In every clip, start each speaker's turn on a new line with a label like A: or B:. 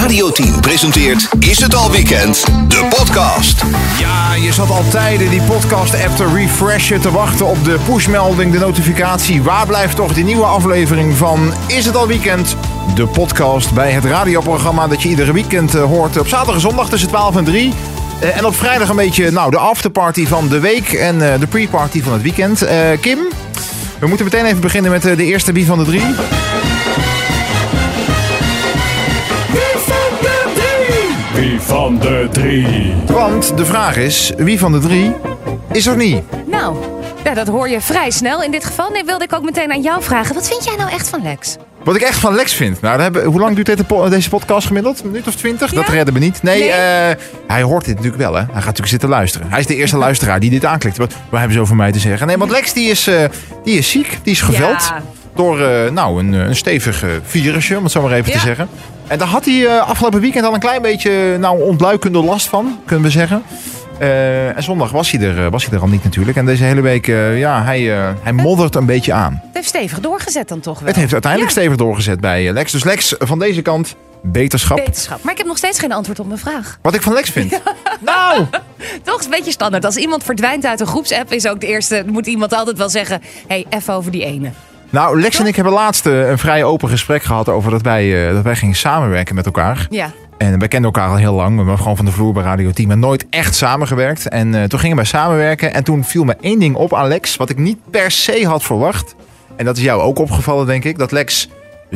A: Radio 10 presenteert Is het al weekend? De podcast.
B: Ja, je zat al tijden die podcast-app te refreshen, te wachten op de pushmelding, de notificatie. Waar blijft toch die nieuwe aflevering van Is het al weekend? De podcast bij het radioprogramma dat je iedere weekend eh, hoort. Op zaterdag en zondag tussen 12 en 3. Eh, en op vrijdag een beetje nou, de afterparty van de week en eh, de pre-party van het weekend. Eh, Kim, we moeten meteen even beginnen met eh, de eerste wie van de drie.
C: Wie van de drie?
B: Want de vraag is, wie van de drie is er niet?
D: Nou, ja, dat hoor je vrij snel in dit geval. Nee, wilde ik ook meteen aan jou vragen. Wat vind jij nou echt van Lex?
B: Wat ik echt van Lex vind. Nou, daar hebben, hoe lang duurt dit de po- deze podcast gemiddeld? Een minuut of twintig? Dat redden we niet. Nee,
D: Nee.
B: eh, hij hoort dit natuurlijk wel. Hè? Hij gaat natuurlijk zitten luisteren. Hij is de eerste luisteraar die dit aanklikt. Wat, waar hebben ze over mij te zeggen? Nee, want Lex die is, eh, die is ziek. Die is geveld.
D: Ja.
B: Door eh, nou, een, eh, een stevig eh, virusje, om het zo maar even te
D: Ja.
B: zeggen. En daar had hij eh, afgelopen weekend al een klein beetje nou, ontluikende last van, kunnen we zeggen. Eh, en zondag was hij, er, eh, was hij er al niet natuurlijk. En deze hele week, eh, ja, hij, eh, hij moddert een beetje aan.
D: Het heeft stevig doorgezet dan toch wel.
B: Het heeft uiteindelijk
D: Ja.
B: stevig doorgezet bij eh, Lex. Dus Lex, van deze kant, beterschap.
D: Wetenschap. Maar ik heb nog steeds geen antwoord op mijn vraag.
B: Wat ik van Lex vind. Nou,
D: Toch is een beetje standaard. Als iemand verdwijnt uit een groepsapp, is ook de eerste. Moet iemand altijd wel zeggen: hey, even over die ene.
B: nou, Lex en ik hebben laatst eh, een vrij open gesprek gehad over dat wij, eh, dat wij gingen samenwerken met elkaar.
D: Ja.
B: En wij kenden elkaar al heel lang. We hebben gewoon van de vloer bij Radio 10, maar nooit echt samengewerkt. En eh, toen gingen wij samenwerken. En toen viel me één ding op aan Lex, wat ik niet per se had verwacht. En dat is jou ook opgevallen, denk ik. Dat Lex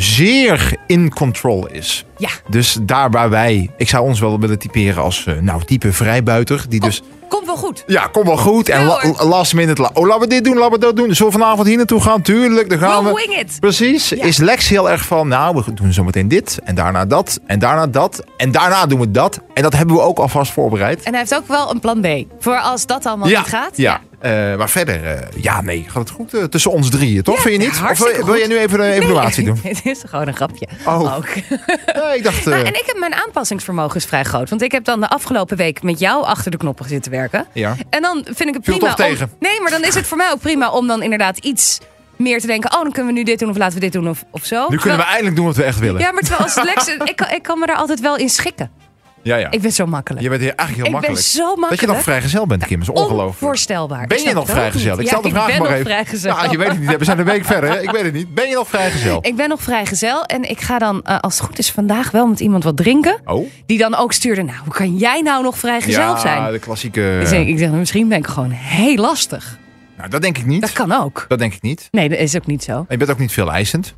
B: zeer in control is.
D: Ja.
B: Dus daar waar wij, ik zou ons wel willen typeren als, eh, nou, type vrijbuiter.
D: Oh.
B: Die dus
D: Komt wel goed.
B: Ja, kom wel goed. En
D: Ja,
B: la-
D: hoor.
B: last minute. La oh, laten we dit doen, laten we dat doen. Zullen we vanavond hier naartoe gaan? Tuurlijk, daar gaan
D: We'll
B: we.
D: wing it.
B: Precies. Is Lex heel erg van, nou, we doen zometeen dit. En daarna dat. En daarna dat. En daarna doen we dat. En dat hebben we ook alvast voorbereid.
D: En hij heeft ook wel een plan B. Voor als dat allemaal niet gaat.
B: Ja. Eh, maar verder, eh, ja, nee, gaat het goed eh, tussen ons drieën, toch?
D: Ja,
B: Vind je niet? Of wil,
D: hartstikke
B: wil je
D: goed.
B: nu even een
D: Nee,
B: evaluatie doen?
D: Het is gewoon een grapje.
B: Oh.
D: Ook.
B: Nee, ik dacht... eh,
D: Nou, en ik heb mijn aanpassingsvermogen is vrij groot. Want ik heb dan de afgelopen week met jou achter de knoppen zitten werken.
B: Ja.
D: En dan vind ik het
B: Viel
D: prima.
B: toch
D: om-
B: tegen?
D: nee, maar dan is het voor mij ook prima om dan inderdaad iets meer te denken. Oh, dan kunnen we nu dit doen of laten we dit doen of, of zo.
B: Nu kunnen we eindelijk doen wat we echt willen.
D: Ja, maar terwijl als Lex... ik, kan, ik kan me daar altijd wel in schikken.
B: ja. ja.
D: Ik ben zo makkelijk.
B: Je bent hier eigenlijk heel
D: Ik ben
B: makkelijk.
D: zo
B: Dat je
D: makkelijk. Nou,
B: nog vrijgezel bent, Kim. is ongelooflijk.
D: Onvoorstelbaar. Ik
B: Ben je
D: snap
B: nog
D: het ook
B: vrijgezel?
D: niet.
B: Ik
D: Ja,
B: stel de vraag
D: ik ben
B: maar
D: nog
B: even.
D: vrijgezel. Oh,
B: Ja, je weet het niet. We zijn een week verder. hè? Ik weet het niet. Ben je nog vrijgezel?
D: Ik ben nog vrijgezel en ik ga dan, eh, als het goed is, vandaag wel met iemand wat drinken.
B: Oh.
D: Die dan ook stuurde, nou, hoe kan jij nou nog vrijgezel
B: ja,
D: zijn?
B: de klassieke.
D: Dus ik- ik zeg, misschien ben ik gewoon heel lastig.
B: Nou, dat denk ik niet.
D: Dat kan ook.
B: Dat denk ik niet.
D: Nee, dat is ook niet zo.
B: En je bent ook niet veel eisend.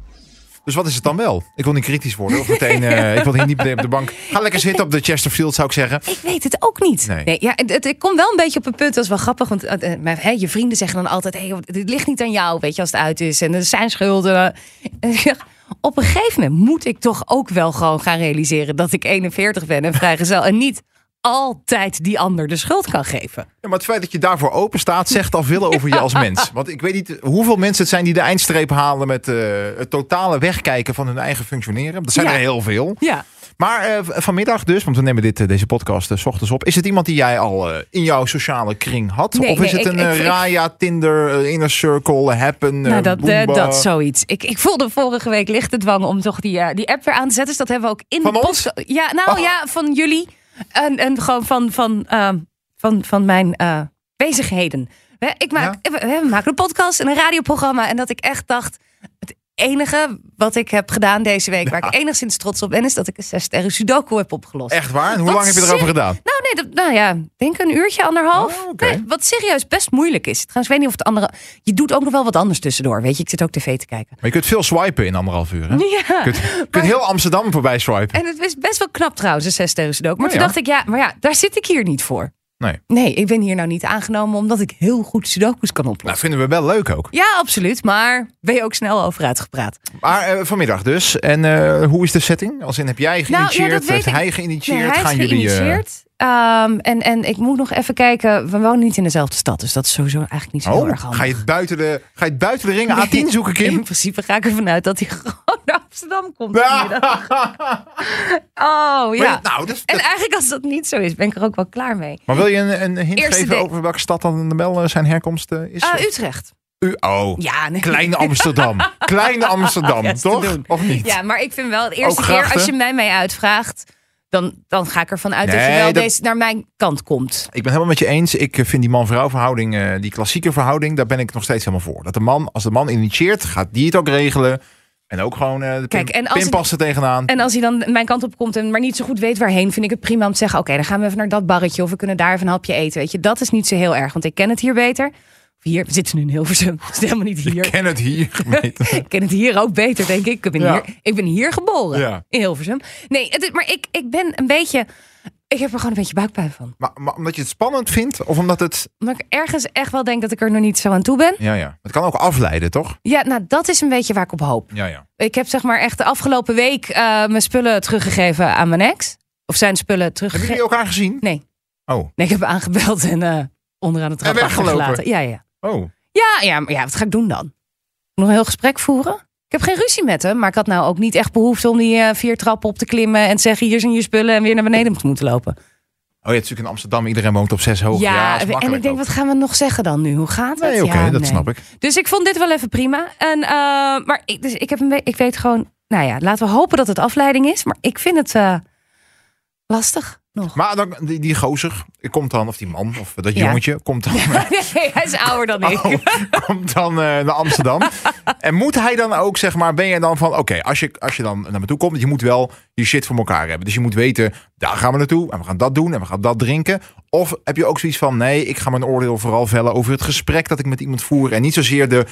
B: Dus wat is het dan wel? Ik wil niet kritisch worden. Of meteen, eh, ik wil hier niet meteen op de bank. Ga lekker zitten op de Chesterfield, zou ik zeggen.
D: Ik weet het ook niet.
B: Nee.
D: ja, het, het- ik kom wel een beetje op een punt, dat is wel grappig. Want eh, eh, maar, hè, je vrienden zeggen dan altijd: hey, dit ligt niet aan jou, weet je, als het uit is. En er zijn schulden. En ik zeg, op een gegeven moment moet ik toch ook wel gewoon gaan realiseren dat ik 41 ben en vrijgezel. en niet altijd die ander de schuld kan geven.
B: Ja, maar het feit dat je daarvoor open staat, zegt al veel over je als mens. Want ik weet niet hoeveel mensen het zijn die de eindstreep halen met eh, het totale wegkijken van hun eigen functioneren. Dat zijn
D: Ja.
B: er heel veel.
D: Ja.
B: Maar eh, v- vanmiddag dus, want we nemen dit, eh, deze podcast eh, s ochtends op. Is het iemand die jij al eh, in jouw sociale kring had?
D: Nee,
B: of is
D: nee,
B: het
D: ik-
B: een
D: ik-
B: eh,
D: ik-
B: Raya, Tinder, eh, Inner Circle, Happen,
D: Nou,
B: eh,
D: dat, eh,
B: Boomba?
D: dat zoiets. Ik, ik voelde vorige week licht de dwang om toch die, eh, die app weer aan te zetten. Dus dat hebben we ook in
B: Van
D: de
B: ons?
D: podcast- Ja, nou
B: Oh.
D: ja, van jullie. En, en gewoon van, van, ehm, van, van mijn eh, bezigheden. Hè, Ik maak, we, we maken een podcast en een radioprogramma. En dat ik echt dacht, het enige wat ik heb gedaan deze week... waar ik enigszins trots op ben, is dat ik een 6 sterren sudoku heb opgelost.
B: Echt waar? En hoe
D: Wat
B: lang heb je erover
D: zin-
B: gedaan?
D: Nou, nee, dat, nou ja, denk een uurtje, anderhalf.
B: Oh, oké.
D: Nee, wat serieus best moeilijk is. Trouwens, ik weet niet of het andere. Je doet ook nog wel wat anders tussendoor. Weet je, ik zit ook tv te kijken.
B: Maar je kunt veel swipen in anderhalf uur. Hè? Je
D: Ja.
B: kunt, je kunt heel Amsterdam voorbij swipen.
D: En het is best wel knap trouwens, een zes sterren sudoku. Maar
B: Nou
D: toen
B: ja.
D: dacht ik, ja, maar ja, daar zit ik hier niet voor.
B: Nee.
D: Nee, ik ben hier nou niet aangenomen omdat ik heel goed sudokus kan
B: Nou,
D: oplossen.
B: vinden we wel leuk ook.
D: Ja, absoluut. Maar ben je ook snel over uitgepraat?
B: Maar eh, vanmiddag dus. En eh, hoe is de setting? Als in, heb jij geïnitieerd?
D: Nou, dat weet
B: heeft
D: ik.
B: hij geïnitieerd?
D: Nee, hij is
B: Gaan jullie... eh,
D: geïnitieerd. Ehm, en, en ik moet nog even kijken. We wonen niet in dezelfde stad, dus dat is sowieso eigenlijk niet zo heel erg
B: Oh,
D: handig.
B: ga je het buiten de, ga je het buiten de ringen A10 zoeken,
D: In
B: Kim?
D: principe ga ik ervan uit dat hij gewoon naar Amsterdam komt.
B: Ja.
D: vanmiddag. Oh ja.
B: Maar, nou, dat is-
D: En
B: dat-
D: eigenlijk als dat niet zo is, ben ik er ook wel klaar mee.
B: maar wil je een, een hint
D: Eerste
B: geven
D: ding.
B: over welke stad dan de bel eh, zijn herkomst eh, is?
D: Eh, Utrecht.
B: U, oh,
D: Ja, nee.
B: Kleine Amsterdam. Kleine Amsterdam,
D: is te
B: toch?
D: doen.
B: Of niet?
D: Ja, maar ik vind wel de eerste
B: Ook
D: keer
B: grachten?
D: als je mij mee uitvraagt, dan, dan ga ik ervan uit dat je
B: Nee,
D: wel
B: dat-
D: deze naar mijn kant komt.
B: Ik ben helemaal met je eens. Ik eh, vind die man-vrouw verhouding, eh, die klassieke verhouding, daar ben ik nog steeds helemaal voor. Dat de man, als de man initieert, gaat die het ook regelen. En ook gewoon eh de
D: Kijk,
B: Kijk,
D: en als het-
B: pinpas er tegenaan.
D: En als hij dan mijn kant op komt en maar niet zo goed weet waarheen, vind ik het prima om te zeggen: Oké, dan gaan we even naar dat barretje of we kunnen daar even een hapje eten. Weet je, dat is niet zo heel erg, want ik ken het hier beter. Hier, we zitten nu in Hilversum, dus helemaal niet
B: Ik
D: hier.
B: ken het hier. gemeten.
D: Ik ken het hier ook beter, denk ik. Ik ben,
B: Ja.
D: hier, ik ben hier geboren,
B: Ja.
D: in Hilversum. Nee, het, is- maar ik, ik ben een beetje. Ik heb er gewoon een beetje buikpijn van.
B: maar, maar omdat je het spannend vindt, of omdat het...
D: Omdat ik ergens echt wel denk dat ik er nog niet zo aan toe ben.
B: Ja, ja. Het kan ook afleiden, toch?
D: Ja, nou, dat is een beetje waar ik op hoop.
B: Ja, ja.
D: Ik heb zeg maar echt de afgelopen week eh, mijn spullen teruggegeven aan mijn ex. Of zijn spullen
B: Hebben
D: teruggegeven.
B: jullie elkaar gezien?
D: Nee.
B: Oh.
D: Nee, ik heb aangebeld en eh, onderaan de trap
B: En weggelopen.
D: achtergelaten. Ja, ja.
B: Oh.
D: Ja, ja, maar ja, wat ga ik doen dan? Nog een heel gesprek voeren? Ik heb geen ruzie met hem, maar ik had nou ook niet echt behoefte om die eh, vier trappen op te klimmen en te zeggen: hier zijn je spullen en weer naar beneden te moeten lopen.
B: Oh ja, natuurlijk in Amsterdam. Iedereen woont op zes hoog. Oh, Ja, dat is
D: en
B: makkelijk
D: ik denk,
B: ook.
D: wat gaan we nog zeggen dan nu? Hoe gaat het?
B: Nee, oké,
D: Ja,
B: dat
D: nee.
B: snap ik.
D: Dus ik vond dit wel even prima. En, eh, maar ik, dus ik, heb een be- ik weet gewoon, nou ja, laten we hopen dat het afleiding is. Maar ik vind het eh, lastig nog.
B: Maar dan, die, die gozer komt dan, of die man, of dat
D: Ja.
B: jongetje, komt dan...
D: nee, hij is ouder dan ik.
B: Oh, komt dan eh, naar Amsterdam. en moet hij dan ook, zeg maar, ben je dan van... Oké, als, je, als je dan naar me toe komt, je moet wel je shit voor elkaar hebben. Dus je moet weten, daar gaan we naartoe en we gaan dat doen en we gaan dat drinken. Of heb je ook zoiets van, nee, ik ga mijn oordeel vooral vellen over het gesprek dat ik met iemand voer. En niet zozeer de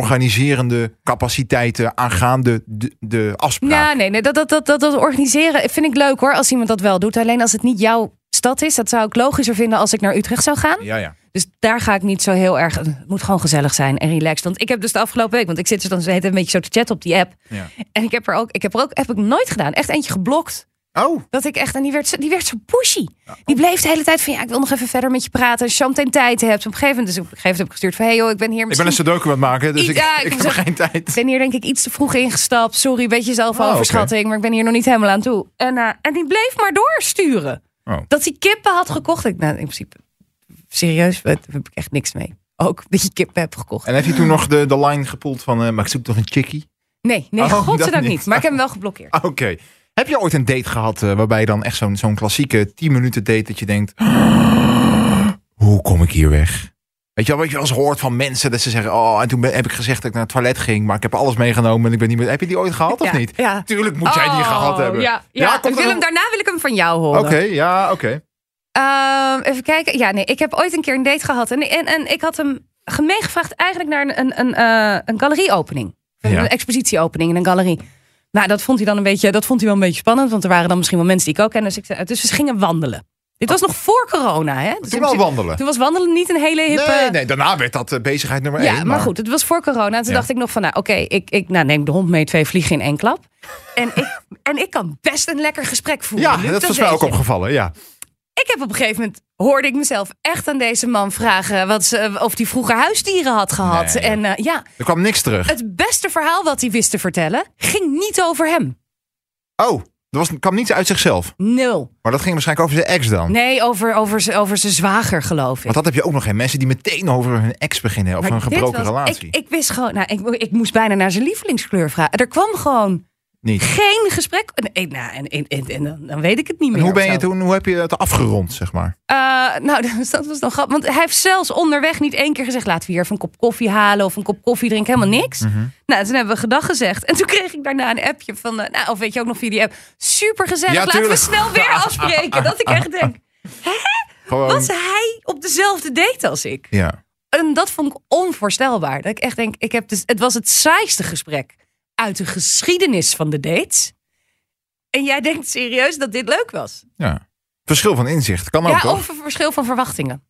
B: organiserende capaciteiten aangaande de, de afspraak.
D: Ja, Nou, nee, nee dat, dat, dat, dat, dat organiseren vind ik leuk hoor, als iemand dat wel doet. Alleen als het niet jouw stad is, dat zou ik logischer vinden als ik naar Utrecht zou gaan.
B: Ja, ja.
D: Dus daar ga ik niet zo heel erg. Het moet gewoon gezellig zijn en relaxed. Want ik heb dus de afgelopen week, want ik zit dus dan zo de hele tijd een beetje zo te chatten op die app.
B: Ja.
D: En ik heb er ook, ik heb er ook, heb ik nooit gedaan. Echt eentje geblokt.
B: Oh,
D: Dat ik echt, en die werd, zo- die werd zo pushy. Die bleef de hele tijd van, ja, ik wil nog even verder met je praten. Als je zo meteen tijd hebt. Op een gegeven moment, dus op een gegeven moment heb ik gestuurd van, hey joh, ik ben hier
B: ik ben een
D: misschien...
B: sudoku aan het maken, dus
D: Iets-
B: ik,
D: ja, ik
B: ik
D: moet
B: heb
D: zeggen-
B: geen tijd.
D: Ik ben hier denk ik iets te vroeg ingestapt. Sorry, beetje zelfoverschatting,
B: Oh,
D: maar ik ben hier nog niet helemaal aan toe. En, eh, en die bleef maar doorsturen.
B: Oh.
D: Dat hij kippen had gekocht. Ik, nou, in principe, serieus, daar heb ik echt niks mee. Ook dat je kippen hebt gekocht.
B: En heb je toen nog de, de line gepoeld van, eh, maar ik zoek toch een chickie?
D: Nee, nee,
B: Oh, dat
D: godzijdank
B: niet.
D: niet. Maar ik heb hem wel geblokkeerd.
B: Oké. Heb je ooit een date gehad eh, waarbij je dan echt zo'n zo'n klassieke 10 minuten date dat je denkt, hoe kom ik hier weg? Weet je wel, wat je wel eens hoort van mensen dat ze zeggen, oh, en toen ben- heb ik gezegd dat ik naar het toilet ging, maar ik heb alles meegenomen en ik ben niet meer. Heb je die ooit gehad of
D: Ja,
B: niet?
D: ja.
B: Tuurlijk moet jij die
D: Oh,
B: gehad hebben.
D: Ja, ja.
B: komt
D: ik wil
B: er-
D: hem, daarna wil ik hem van jou horen.
B: Oké, ja, oké.
D: Ehm, even kijken. Ja, nee, ik heb ooit een keer een date gehad. En, en, en ik had hem ge- meegevraagd eigenlijk naar een, een, een, eh, een galerieopening. Een
B: Ja.
D: expositieopening in een galerie. Nou, dat vond hij dan een beetje, dat vond hij wel een beetje spannend. Want er waren dan misschien wel mensen die ik ook ken. Dus, ik, zei- dus we gingen wandelen. Dit was nog voor corona, hè? Dus in
B: Toen al
D: principe-
B: wandelen.
D: Toen was wandelen niet een hele hippe...
B: Nee, nee, daarna werd dat eh, bezigheid nummer 1.
D: Ja, maar goed, het was voor corona. En toen
B: Ja.
D: dacht ik nog van, nou oké, ik, ik nou, neem de hond mee, twee vliegen in één klap. En ik, en ik kan best een lekker gesprek voeren.
B: Ja,
D: Luc,
B: dat was
D: weet
B: mij ook
D: je.
B: opgevallen, ja.
D: Ik heb op een gegeven moment, hoorde ik mezelf echt aan deze man vragen wat ze, eh, of hij vroeger huisdieren had gehad.
B: Nee.
D: en eh, ja,
B: Er kwam niks terug.
D: het beste verhaal wat hij wist te vertellen, ging niet over hem. Eh.
B: Oh, er was, kwam niets uit zichzelf.
D: Nul.
B: Maar dat ging waarschijnlijk over zijn ex dan.
D: Nee, over, over, z- over zijn zwager geloof ik.
B: Want dat heb je ook nog geen mensen die meteen over hun ex beginnen. Of
D: Maar
B: een
D: dit
B: gebroken
D: was-
B: relatie.
D: Ik, ik wist gewoon, nou, ik, mo- ik moest bijna naar zijn lievelingskleur vragen. Er kwam gewoon
B: Niet.
D: geen gesprek. En, en- nou, en, en, en, en dan, dan weet ik het niet
B: En
D: meer.
B: hoe
D: of
B: ben je
D: zo.
B: toen, hoe heb je het afgerond, zeg maar?
D: Eh, nou, dus dat was dan grappig. Want hij heeft zelfs onderweg niet één keer gezegd... laten we hier even een kop koffie halen of een kop koffie drinken. Helemaal niks.
B: Mhm.
D: Nou, toen hebben we gedag gezegd. En toen kreeg ik daarna een appje van... eh, nou, of weet je ook nog via die app. Super gezellig,
B: Ja,
D: laten we
B: tuurlijk.
D: snel weer afspreken. Dat ik echt denk,
B: Gewoon.
D: was hij op dezelfde date als ik?
B: Ja.
D: En dat vond ik onvoorstelbaar. Dat ik echt denk, ik heb dus, het was het saaiste gesprek uit de geschiedenis van de dates. En jij denkt serieus dat dit leuk was?
B: ja. Verschil van inzicht. Kan ook,
D: ja,
B: toch?
D: of een verschil van verwachtingen.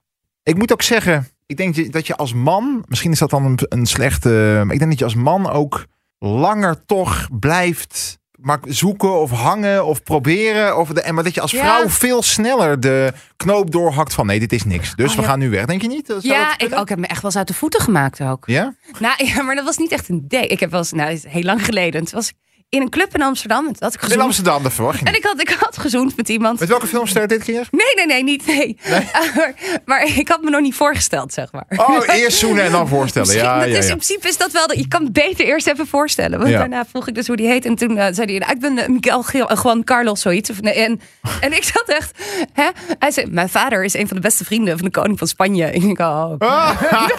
B: Ik moet ook zeggen, ik denk dat je als man... Misschien is dat dan een, een slechte... Maar ik denk dat je als man ook langer toch blijft maar zoeken of hangen of proberen. Of de, en maar dat je als
D: Ja.
B: vrouw veel sneller de knoop doorhakt van nee, dit is niks. Dus
D: Oh,
B: we
D: ja.
B: gaan nu weg, denk je niet? Zou dat
D: Ja, ik,
B: kunnen?
D: ook, ik heb me echt wel eens uit de voeten gemaakt ook.
B: Ja?
D: Nou, ja, maar dat was niet echt een date. Ik heb wel eens, nou, dat is heel lang geleden. Toen was ik in een club in Amsterdam en toen had ik
B: In
D: gezoend.
B: Amsterdam, dat verwacht je
D: En
B: niet.
D: ik Nou, had, ik had gezoend met iemand.
B: Met welke filmster dit keer?
D: Nee, nee, nee, niet. Nee. maar, maar ik had me nog niet voorgesteld, zeg maar.
B: Oh, eerst zoenen en dan voorstellen.
D: Misschien-
B: Ja,
D: dat
B: ja,
D: is,
B: ja.
D: In principe is dat wel. dat- Je kan het beter eerst even voorstellen. Want
B: Ja.
D: daarna vroeg ik dus hoe die heet. En toen eh, zei hij: nou, Ik ben eh, Miguel Gil, eh, Juan Carlos, zoiets. Of, nee, en, en ik zat echt. Hè? Hij zei: Mijn vader is een van de beste vrienden van de koning van Spanje. Ik denk: Oh.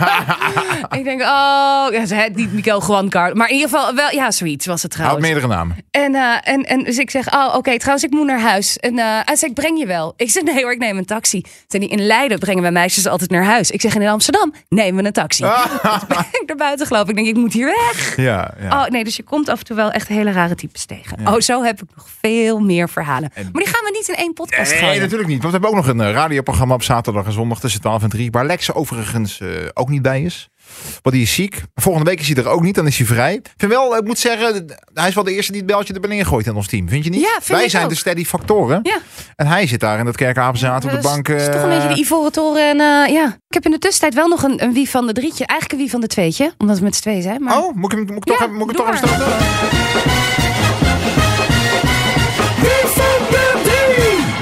D: ik denk: Oh, ja, ze- niet Miguel Juan Carlos. Maar in ieder geval wel. Ja, zoiets was het
B: Houd
D: trouwens.
B: meerdere namen.
D: En, eh, en, en dus ik zeg, oh oké, trouwens ik moet naar huis. En eh, hij zei, ik breng je wel. Ik zeg, nee hoor, ik neem een taxi. Zei hij, in Leiden brengen wij meisjes altijd naar huis. Ik zeg, en in Amsterdam nemen we een taxi. Dus ben ik naar buiten gelopen. Ik denk, ik moet hier weg.
B: Ja, ja.
D: Oh nee, dus je komt af en toe wel echt hele rare types tegen. Oh, zo heb ik nog veel meer verhalen. Maar die gaan we niet in één podcast
B: Nee,
D: gooien.
B: natuurlijk niet. Want we hebben ook nog een eh, radioprogramma op zaterdag en zondag tussen 12 en 3. Waar Lex overigens eh, ook niet bij is. Want die is ziek. Volgende week is hij er ook niet, dan is hij vrij. Ik vind wel, ik moet zeggen, hij is wel de eerste die het beltje er beneden gooit in ons team. Vind je niet?
D: Ja, vind
B: Wij
D: ik
B: zijn
D: ook.
B: de steady factoren.
D: Ja.
B: En hij zit daar in dat kerkapenzaad op de
D: Dat is-
B: bank.
D: is toch
B: eh,
D: een beetje de Ivoren Toren. En, eh, ja. Ik heb in de tussentijd wel nog een, een wie van de drietje. Eigenlijk een wie van de tweetje, omdat we met z'n tweeën zijn. Maar...
B: Oh, moet ik, hem- moet ik, toch,
D: Ja,
B: even- moet ik
D: doe
B: toch even
D: maar.
B: stoten?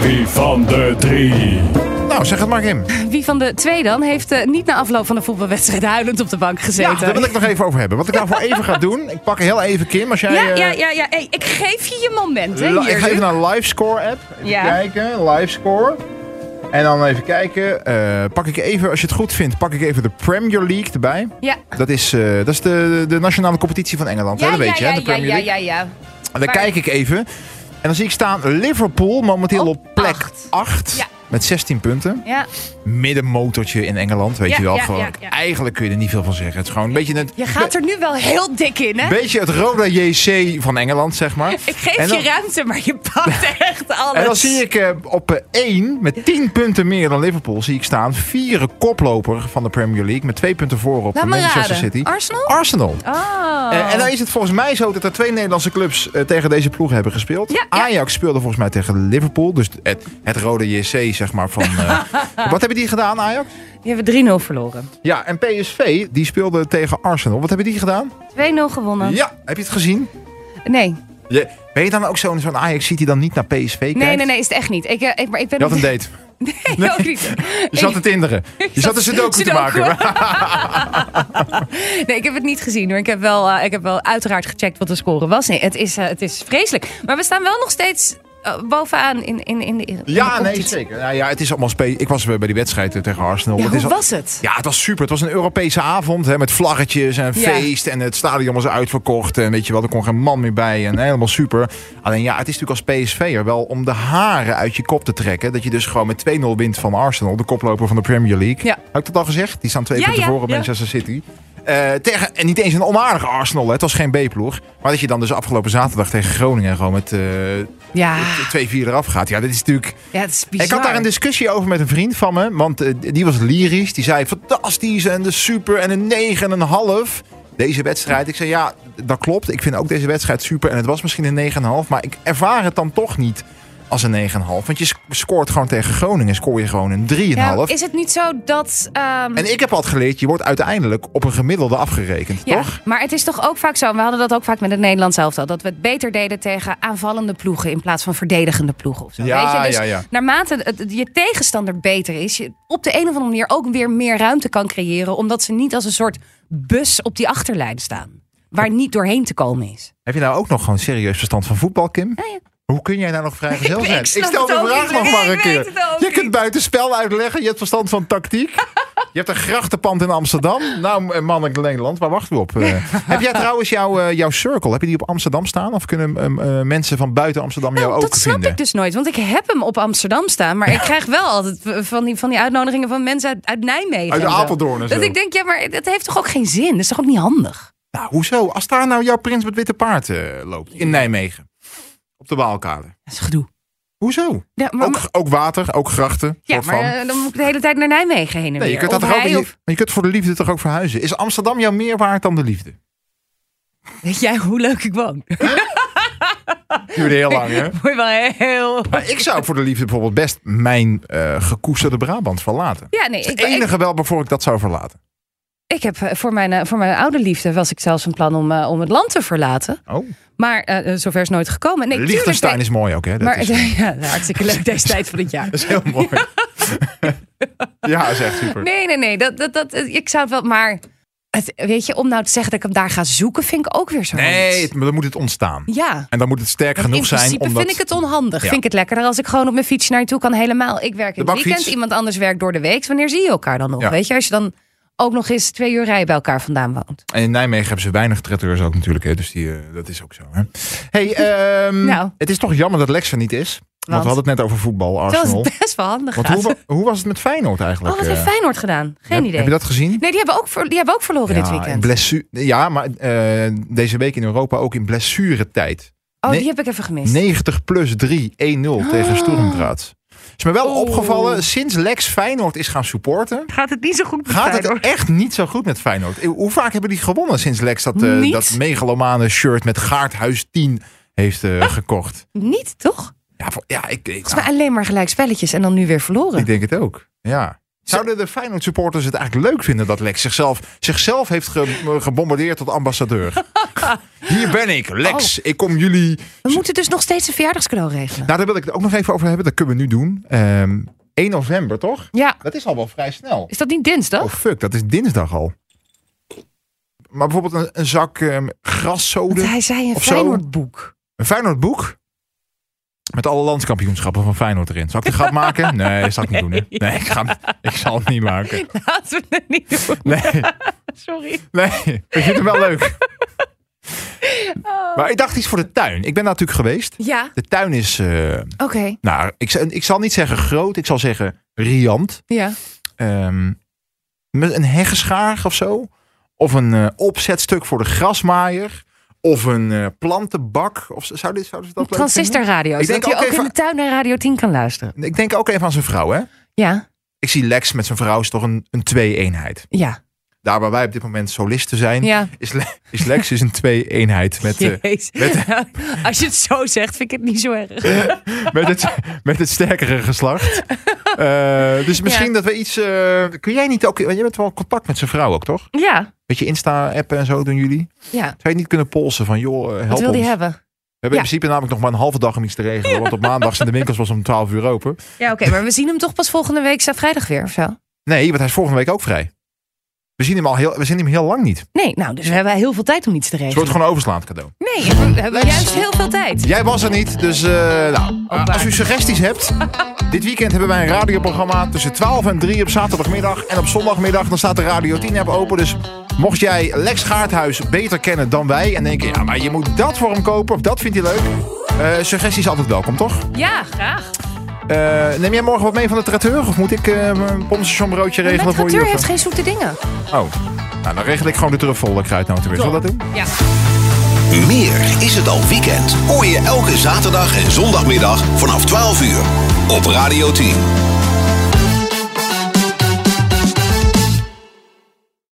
C: Wie van de drie?
B: Nou, zeg het maar, Kim.
D: Wie van de twee dan heeft eh, niet na afloop van een voetbalwedstrijd huilend op de bank
B: Ja,
D: gezeten?
B: daar wil ik nog even over hebben. Wat ik nou voor even ga doen. Ik pak heel even Kim. Als jij,
D: ja,
B: eh,
D: ja, ja, ja. Hey, ik geef je je moment. Hè,
B: La-
D: hier,
B: ik ga even
D: Luc.
B: naar Livescore app. Even
D: Ja.
B: kijken, Livescore. En dan even kijken. eh, pak ik even, als je het goed vindt, pak ik even de Premier League erbij.
D: Ja.
B: Dat is, eh, dat is de, de nationale competitie van Engeland. hè?
D: Ja,
B: Dat
D: ja,
B: weet je,
D: ja,
B: hè? De
D: ja,
B: Premier
D: ja,
B: League.
D: ja, ja.
B: En dan
D: Maar-
B: kijk ik even. En dan zie ik staan Liverpool momenteel
D: Op
B: op, plek
D: Oh, acht.
B: 8.
D: Ja.
B: Met 16 punten.
D: Ja.
B: Middenmotortje in Engeland, weet
D: Ja,
B: je wel.
D: ja,
B: gewoon,
D: ja, ja.
B: Eigenlijk kun je er niet veel van zeggen. Het is gewoon een beetje het,
D: Je gaat er nu wel heel dik in, hè?
B: beetje het Roda JC van Engeland, zeg maar.
D: Ik geef
B: En dan-
D: je ruimte, maar je pakt echt alles.
B: En dan zie ik eh, op eh, één met 10 punten meer dan Liverpool, zie ik staan. Vieren koploper van de Premier League. Met twee punten voor op
D: Laat me
B: Manchester
D: raden.
B: City.
D: Arsenal?
B: Arsenal.
D: Oh.
B: Eh, en dan is het volgens mij zo dat er twee Nederlandse clubs eh, tegen deze ploeg hebben gespeeld.
D: Ja, ja.
B: Ajax speelde volgens mij tegen Liverpool. Dus het, het rode JC, zeg maar. Van, eh, wat hebben die gedaan, Ajax?
D: Die hebben 3-0 verloren. 2-0
B: Ja, en PSV, die speelde tegen Arsenal. Wat hebben die gedaan?
D: gewonnen.
B: Ja, heb je het gezien?
D: Nee.
B: Je, ben je dan ook zo'n zo'n Ajax City dan niet naar PSV kijkt?
D: Nee, nee, nee, is het echt niet. Ik, eh, ik, maar ik ben
B: Je had een date.
D: Nee, ook niet.
B: Je zat te tinderen. Je zat een sudoku te
D: Sudoku.
B: maken.
D: Nee, ik heb het niet gezien hoor. Ik heb wel, eh, ik heb wel uiteraard gecheckt wat de score was. Nee, het is, eh, het is vreselijk. Maar we staan wel nog steeds eh, bovenaan in, in, in de in de
B: Ja, nee,
D: competitie.
B: zeker. Nou ja, het is allemaal spe- Ik was eh, bij die wedstrijd eh, tegen Arsenal.
D: Ja,
B: het
D: hoe
B: is al-
D: was het?
B: Ja, het was super. Het was een Europese avond hè, met vlaggetjes en
D: Ja.
B: feest. En het stadion was uitverkocht. En weet je wel, er kon geen man meer bij. En helemaal super. Alleen ja, het is natuurlijk als PSV'er wel om de haren uit je kop te trekken. Dat je dus gewoon met 2-0 wint van Arsenal, de koploper van de Premier League.
D: Ja.
B: Heb ik dat al gezegd? Die staan twee
D: Ja,
B: punten
D: ja,
B: voor op
D: ja.
B: Manchester City. Eh, tegen, en niet eens een onaardige Arsenal. Hè. Het was geen B-ploeg. Maar dat je dan dus afgelopen zaterdag tegen Groningen gewoon met eh,
D: Ja,
B: 2-4 eraf gaat. Ja, dit is natuurlijk...
D: ja het is bizar.
B: Ik had daar een discussie over met een vriend van me. Want eh, die was lyrisch. Die zei fantastisch en de super en een 9 en een half. Deze wedstrijd. Ik zei ja, dat klopt. Ik vind ook deze wedstrijd super. En het was misschien een 9,5. Maar ik ervaar het dan toch niet als een 9,5. Want je sc- scoort gewoon tegen Groningen. Scoor je gewoon een 3,5.
D: ja, Is het niet zo dat... ehm,
B: En ik heb altijd geleerd, je wordt uiteindelijk op een gemiddelde afgerekend,
D: ja,
B: toch?
D: maar het is toch ook vaak zo, we hadden dat ook vaak met het Nederlands elftal, dat we het beter deden tegen aanvallende ploegen in plaats van verdedigende ploegen of zo.
B: Ja,
D: weet je? Dus
B: ja, ja.
D: naarmate het, het- je tegenstander beter is, je op de een of andere manier ook weer meer ruimte kan creëren, omdat ze niet als een soort bus op die achterlijn staan, waar niet doorheen te komen is.
B: Heb je nou ook nog gewoon serieus verstand van voetbal, Kim?
D: ja.
B: Hoe kun jij nou nog vrijgezel
D: Ik-
B: zijn?
D: ik snap
B: stel
D: het
B: de
D: ook
B: vraag
D: niet.
B: nog maar
D: Ik
B: een
D: weet
B: keer.
D: het ook
B: Je kunt
D: niet.
B: buitenspel uitleggen, je hebt verstand van tactiek. Je hebt een grachtenpand in Amsterdam. Nou, eh, mannelijk Nederland, waar wachten we op? Eh, heb jij trouwens jouw, eh, jouw circle, heb je die op Amsterdam staan? Of kunnen eh, eh, mensen van buiten Amsterdam jou
D: Nou,
B: ook
D: dat snap
B: vinden?
D: ik dus nooit, want ik heb hem op Amsterdam staan, maar ik krijg wel altijd v- van die, van die uitnodigingen van mensen uit, uit Nijmegen.
B: Uit
D: en zo.
B: Apeldoorn en
D: Dat
B: zo.
D: ik denk, ja, maar dat heeft toch ook geen zin? Dat is toch ook niet handig?
B: Nou, hoezo? Als daar nou jouw prins met witte paard eh, loopt, in Nijmegen. Op de Waalkade.
D: Dat is gedoe.
B: Hoezo?
D: Ja, maar,
B: ook, ook water, ook grachten.
D: ja,
B: soort
D: maar
B: van.
D: eh, dan moet ik de hele tijd naar Nijmegen heen en
B: Nee, je
D: weer.
B: kunt, dat
D: Of
B: toch ook,
D: hij
B: je,
D: of-
B: je kunt voor de liefde toch ook verhuizen? Is Amsterdam jou meer waard dan de liefde?
D: Weet jij hoe leuk ik woon?
B: Duurde heel lang, hè?
D: Word je wel heel...
B: Maar ik zou voor de liefde bijvoorbeeld best mijn eh, gekoesterde Brabant verlaten.
D: Ja, nee,
B: Het
D: ik, ik,
B: enige wel waarvoor ik dat zou verlaten.
D: ik heb eh, voor mijn, eh, voor mijn oude liefde was ik zelfs een plan om, eh, om het land te verlaten.
B: Oh,
D: Maar eh, zover is nooit gekomen. Nee, tuurlijk,
B: Liechtenstein
D: nee.
B: is mooi ook, hè? Dat
D: Maar
B: is,
D: ja, nou, hartstikke leuk deze tijd van het jaar.
B: dat is heel mooi. ja, dat is echt super.
D: Nee, nee, nee. Dat, dat, dat, ik zou het wel, maar het, weet je, om nou te zeggen dat ik hem daar ga zoeken, vind ik ook weer zo.
B: Nee, het- maar dan moet het ontstaan.
D: Ja.
B: En dan moet het sterk
D: In
B: genoeg zijn
D: principe
B: om
D: vind ik het onhandig.
B: Ja.
D: Vind ik het lekkerder als ik gewoon op mijn fiets naar je toe kan helemaal. Ik werk in
B: De
D: het weekend,
B: bakfiets.
D: iemand anders werkt door de week. Wanneer zie je elkaar dan nog?
B: Ja.
D: Weet je, als je dan ook nog eens twee uur rijden bij elkaar vandaan woont.
B: En in Nijmegen hebben ze weinig traiteurs ook natuurlijk, hè? dus die, eh, dat is ook zo. Hè? Hey, ehm,
D: Nou.
B: het is toch jammer dat Lex er niet is. Want, we
D: Want?
B: hadden het net over voetbal,
D: Dat
B: Arsenal.
D: is best wel handig.
B: Want
D: gaat.
B: hoe, wa- hoe was het met Feyenoord eigenlijk?
D: oh, wat
B: eh?
D: heeft Feyenoord gedaan? Geen
B: heb,
D: idee.
B: Heb je dat gezien?
D: Nee, die hebben ook, ver- die hebben ook verloren dit
B: ja,
D: weekend.
B: blessu- ja, maar eh, deze week in Europa ook in blessuretijd.
D: oh,
B: nee.
D: die heb ik even gemist.
B: 90 plus 3, 1-0
D: Ah.
B: tegen Sturm Graz. Is me wel
D: Oeh.
B: opgevallen, sinds Lex Feyenoord is gaan supporten...
D: Gaat het niet zo goed met
B: Gaat het
D: Feyenoord?
B: echt niet zo goed met Feyenoord? Hoe vaak hebben die gewonnen sinds Lex dat, eh,
D: Niet.
B: dat megalomane shirt met Gaardhuis 10 heeft eh, gekocht?
D: Niet, toch?
B: Ja, voor- ja ik, ik,
D: Ah. Volgens mij alleen maar gelijk spelletjes en dan nu weer verloren.
B: ik denk het ook. Ja. Zouden de Feyenoord supporters het eigenlijk leuk vinden dat Lex zichzelf, zichzelf heeft ge- gebombardeerd tot ambassadeur? Hier ben ik, Lex.
D: Oh.
B: Ik kom jullie.
D: We moeten dus nog steeds een verjaardagscadeau regelen.
B: Nou, daar wil ik het ook nog even over hebben. Dat kunnen we nu doen. Ehm, 1 november, toch?
D: Ja,
B: Dat is al wel vrij snel.
D: is dat niet dinsdag?
B: Oh fuck, dat is dinsdag al. Maar bijvoorbeeld een, een zak ehm
D: Want
B: graszoden.
D: hij zei een
B: of zo.
D: Feyenoordboek.
B: Een Feyenoord boek. Met alle landskampioenschappen van Feyenoord erin. Zal ik de grap maken? Nee, dat zal ik niet doen. Hè? Nee, ik, ga, hem- ik zal het niet maken.
D: Laten we het niet doen.
B: Nee,
D: Sorry.
B: nee. Ik vind het wel leuk. Maar ik dacht iets voor de tuin. Ik ben daar natuurlijk geweest.
D: Ja,
B: De tuin is, eh,
D: oké.
B: nou, ik, z- ik zal niet zeggen groot. Ik zal zeggen riant.
D: Ja.
B: Ehm, met een heggenschaar of zo. Of een eh, opzetstuk voor de grasmaaier. Of een eh, plantenbak. Of, z- zou dit, zouden ze dat leuk vinden?
D: Transistorradio.
B: Ik
D: Zodat
B: denk
D: je
B: ook
D: ook
B: even-
D: in de tuin naar Radio 10 kan luisteren.
B: Ik denk ook even aan zijn vrouw, hè?
D: Ja,
B: Ik zie Lex met zijn vrouw is toch een, een twee-eenheid.
D: ja.
B: Daar waar wij op dit moment solisten zijn,
D: Ja.
B: is, Le- is Lex dus een twee-eenheid met, eh,
D: Jezus. Als je het zo zegt, vind ik het niet zo erg.
B: met, het, met het sterkere geslacht. Eh, dus misschien
D: Ja.
B: dat we iets... eh, kun jij niet ook... want Jij bent wel in contact met zijn vrouw ook, toch?
D: Ja,
B: Beetje Insta-appen en zo doen jullie.
D: ja.
B: Zou je niet kunnen polsen van, joh, eh, help
D: Wat wil
B: ons.
D: die hebben?
B: We hebben
D: Ja.
B: in principe namelijk nog maar een halve dag om iets te regelen. Want op maandag zijn de winkels pas om 12 uur open.
D: Ja, oké. maar we zien hem toch pas volgende week zaterdag vrijdag weer of zo?
B: Nee, want hij is volgende week ook vrij. We zien hem al heel, we zien hem heel lang niet. Het
D: Nee, nou, dus we hebben heel veel tijd om iets te regelen.
B: wordt gewoon een overslaand cadeau.
D: Nee, we hebben juist heel veel tijd.
B: Jij was er niet, dus eh, nou, eh, als u suggesties hebt. Dit weekend hebben wij een radioprogramma tussen 12 en 3 op zaterdagmiddag. En op zondagmiddag dan staat de Radio 10-app open. Dus mocht jij Lex Gaardhuis beter kennen dan wij... en denken, ja, maar je moet dat voor hem kopen of dat vindt hij leuk... eh, suggesties altijd welkom, toch?
D: Ja, graag.
B: Eh, neem jij morgen wat mee van de traiteur? Of moet ik eh een pommestationbroodje
D: Mijn
B: regelen voor je?
D: tracteur heeft
B: of-
D: geen zoete dingen.
B: Oh, nou, dan regel ik gewoon de truffel de kruidnoten weer. Zullen we dat doen?
D: Ja.
A: Meer is het al weekend. Hoor je elke zaterdag en zondagmiddag vanaf 12 uur op Radio 10.